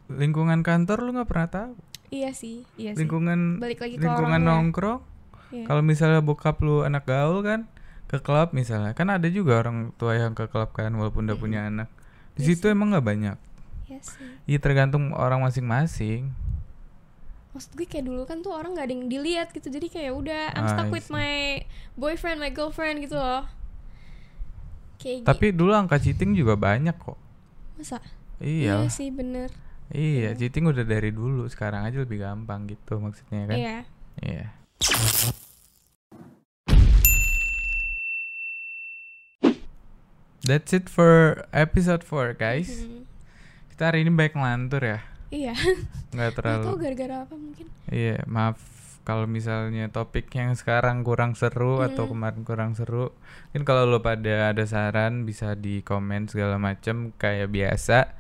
Speaker 1: lingkungan kantor lu nggak pernah tahu.
Speaker 2: Iya sih, iya sih.
Speaker 1: Lingkungan
Speaker 2: Balik lagi ke
Speaker 1: lingkungan
Speaker 2: orangnya.
Speaker 1: nongkrong.
Speaker 2: Iya.
Speaker 1: Kalau misalnya bokap lu anak gaul kan ke klub misalnya, kan ada juga orang tua yang ke klub kan walaupun udah punya anak. Di
Speaker 2: Iya
Speaker 1: situ emang nggak banyak.
Speaker 2: Iya sih.
Speaker 1: Iya tergantung orang masing-masing.
Speaker 2: maksud gue kayak dulu kan tuh orang gak ada yang dilihat gitu jadi kayak udah
Speaker 1: Ah,
Speaker 2: I'm
Speaker 1: I
Speaker 2: stuck with
Speaker 1: see.
Speaker 2: my boyfriend my girlfriend gitu loh kayak gitu
Speaker 1: Tapi dulu angka cheating juga banyak kok.
Speaker 2: masa
Speaker 1: Iya.
Speaker 2: sih bener
Speaker 1: Iya, cheating udah dari dulu, sekarang aja lebih gampang gitu maksudnya kan.
Speaker 2: iya
Speaker 1: Iya. That's it for episode 4, guys.
Speaker 2: Mm.
Speaker 1: Kita hari ini baik ngelantur ya.
Speaker 2: iya
Speaker 1: Nggak
Speaker 2: gak tau
Speaker 1: terlalu.
Speaker 2: gara-gara apa mungkin
Speaker 1: Iya, maaf kalau misalnya topik yang sekarang kurang seru atau kemarin kurang seru. Mungkin kalau lo pada ada saran bisa di komen segala macam kayak biasa.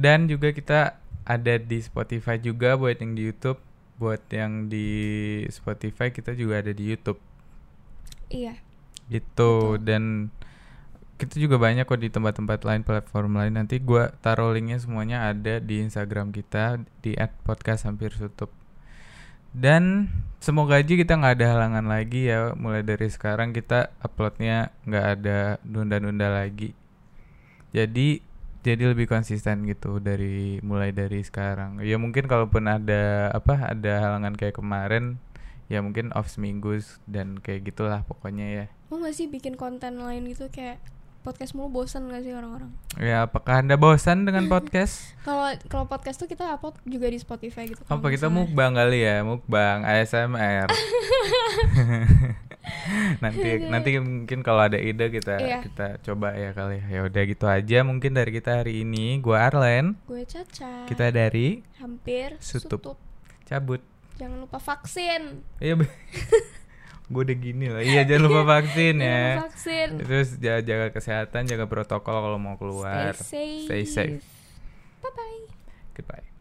Speaker 1: Dan juga kita ada di Spotify juga buat yang di YouTube, buat yang di Spotify kita juga ada di YouTube
Speaker 2: iya
Speaker 1: gitu dan kita juga banyak kok di tempat-tempat lain platform lain nanti gua taruh linknya semuanya ada di Instagram kita di @podcast hampir tutup dan semoga aja kita nggak ada halangan lagi ya mulai dari sekarang kita uploadnya nggak ada nunda-nunda lagi jadi jadi lebih konsisten gitu dari mulai dari sekarang ya mungkin kalaupun ada apa ada halangan kayak kemarin ya mungkin off seminggu s- dan kayak gitulah pokoknya ya
Speaker 2: mau gak sih bikin konten lain gitu kayak podcast mulu bosan gak sih orang-orang
Speaker 1: Ya, apakah Anda bosan dengan podcast?
Speaker 2: kalau kalau podcast tuh kita upload juga di Spotify gitu kalau
Speaker 1: Apa kita
Speaker 2: misalnya.
Speaker 1: mukbang kali ya? Mukbang ASMR. nanti nanti mungkin kalau ada ide kita
Speaker 2: Iya.
Speaker 1: kita coba ya kali. Ya udah gitu aja mungkin dari kita hari ini. Gua Arlen,
Speaker 2: gue caca
Speaker 1: kita dari
Speaker 2: hampir
Speaker 1: Sutup.
Speaker 2: sutup.
Speaker 1: cabut.
Speaker 2: jangan lupa vaksin
Speaker 1: Iya. Gue udah gini loh. Iya, jangan lupa vaksin
Speaker 2: Jangan lupa
Speaker 1: ya.
Speaker 2: vaksin
Speaker 1: Terus ja- jaga kesehatan, jaga protokol kalau mau keluar.
Speaker 2: stay safe
Speaker 1: Stay safe.
Speaker 2: bye bye
Speaker 1: Goodbye.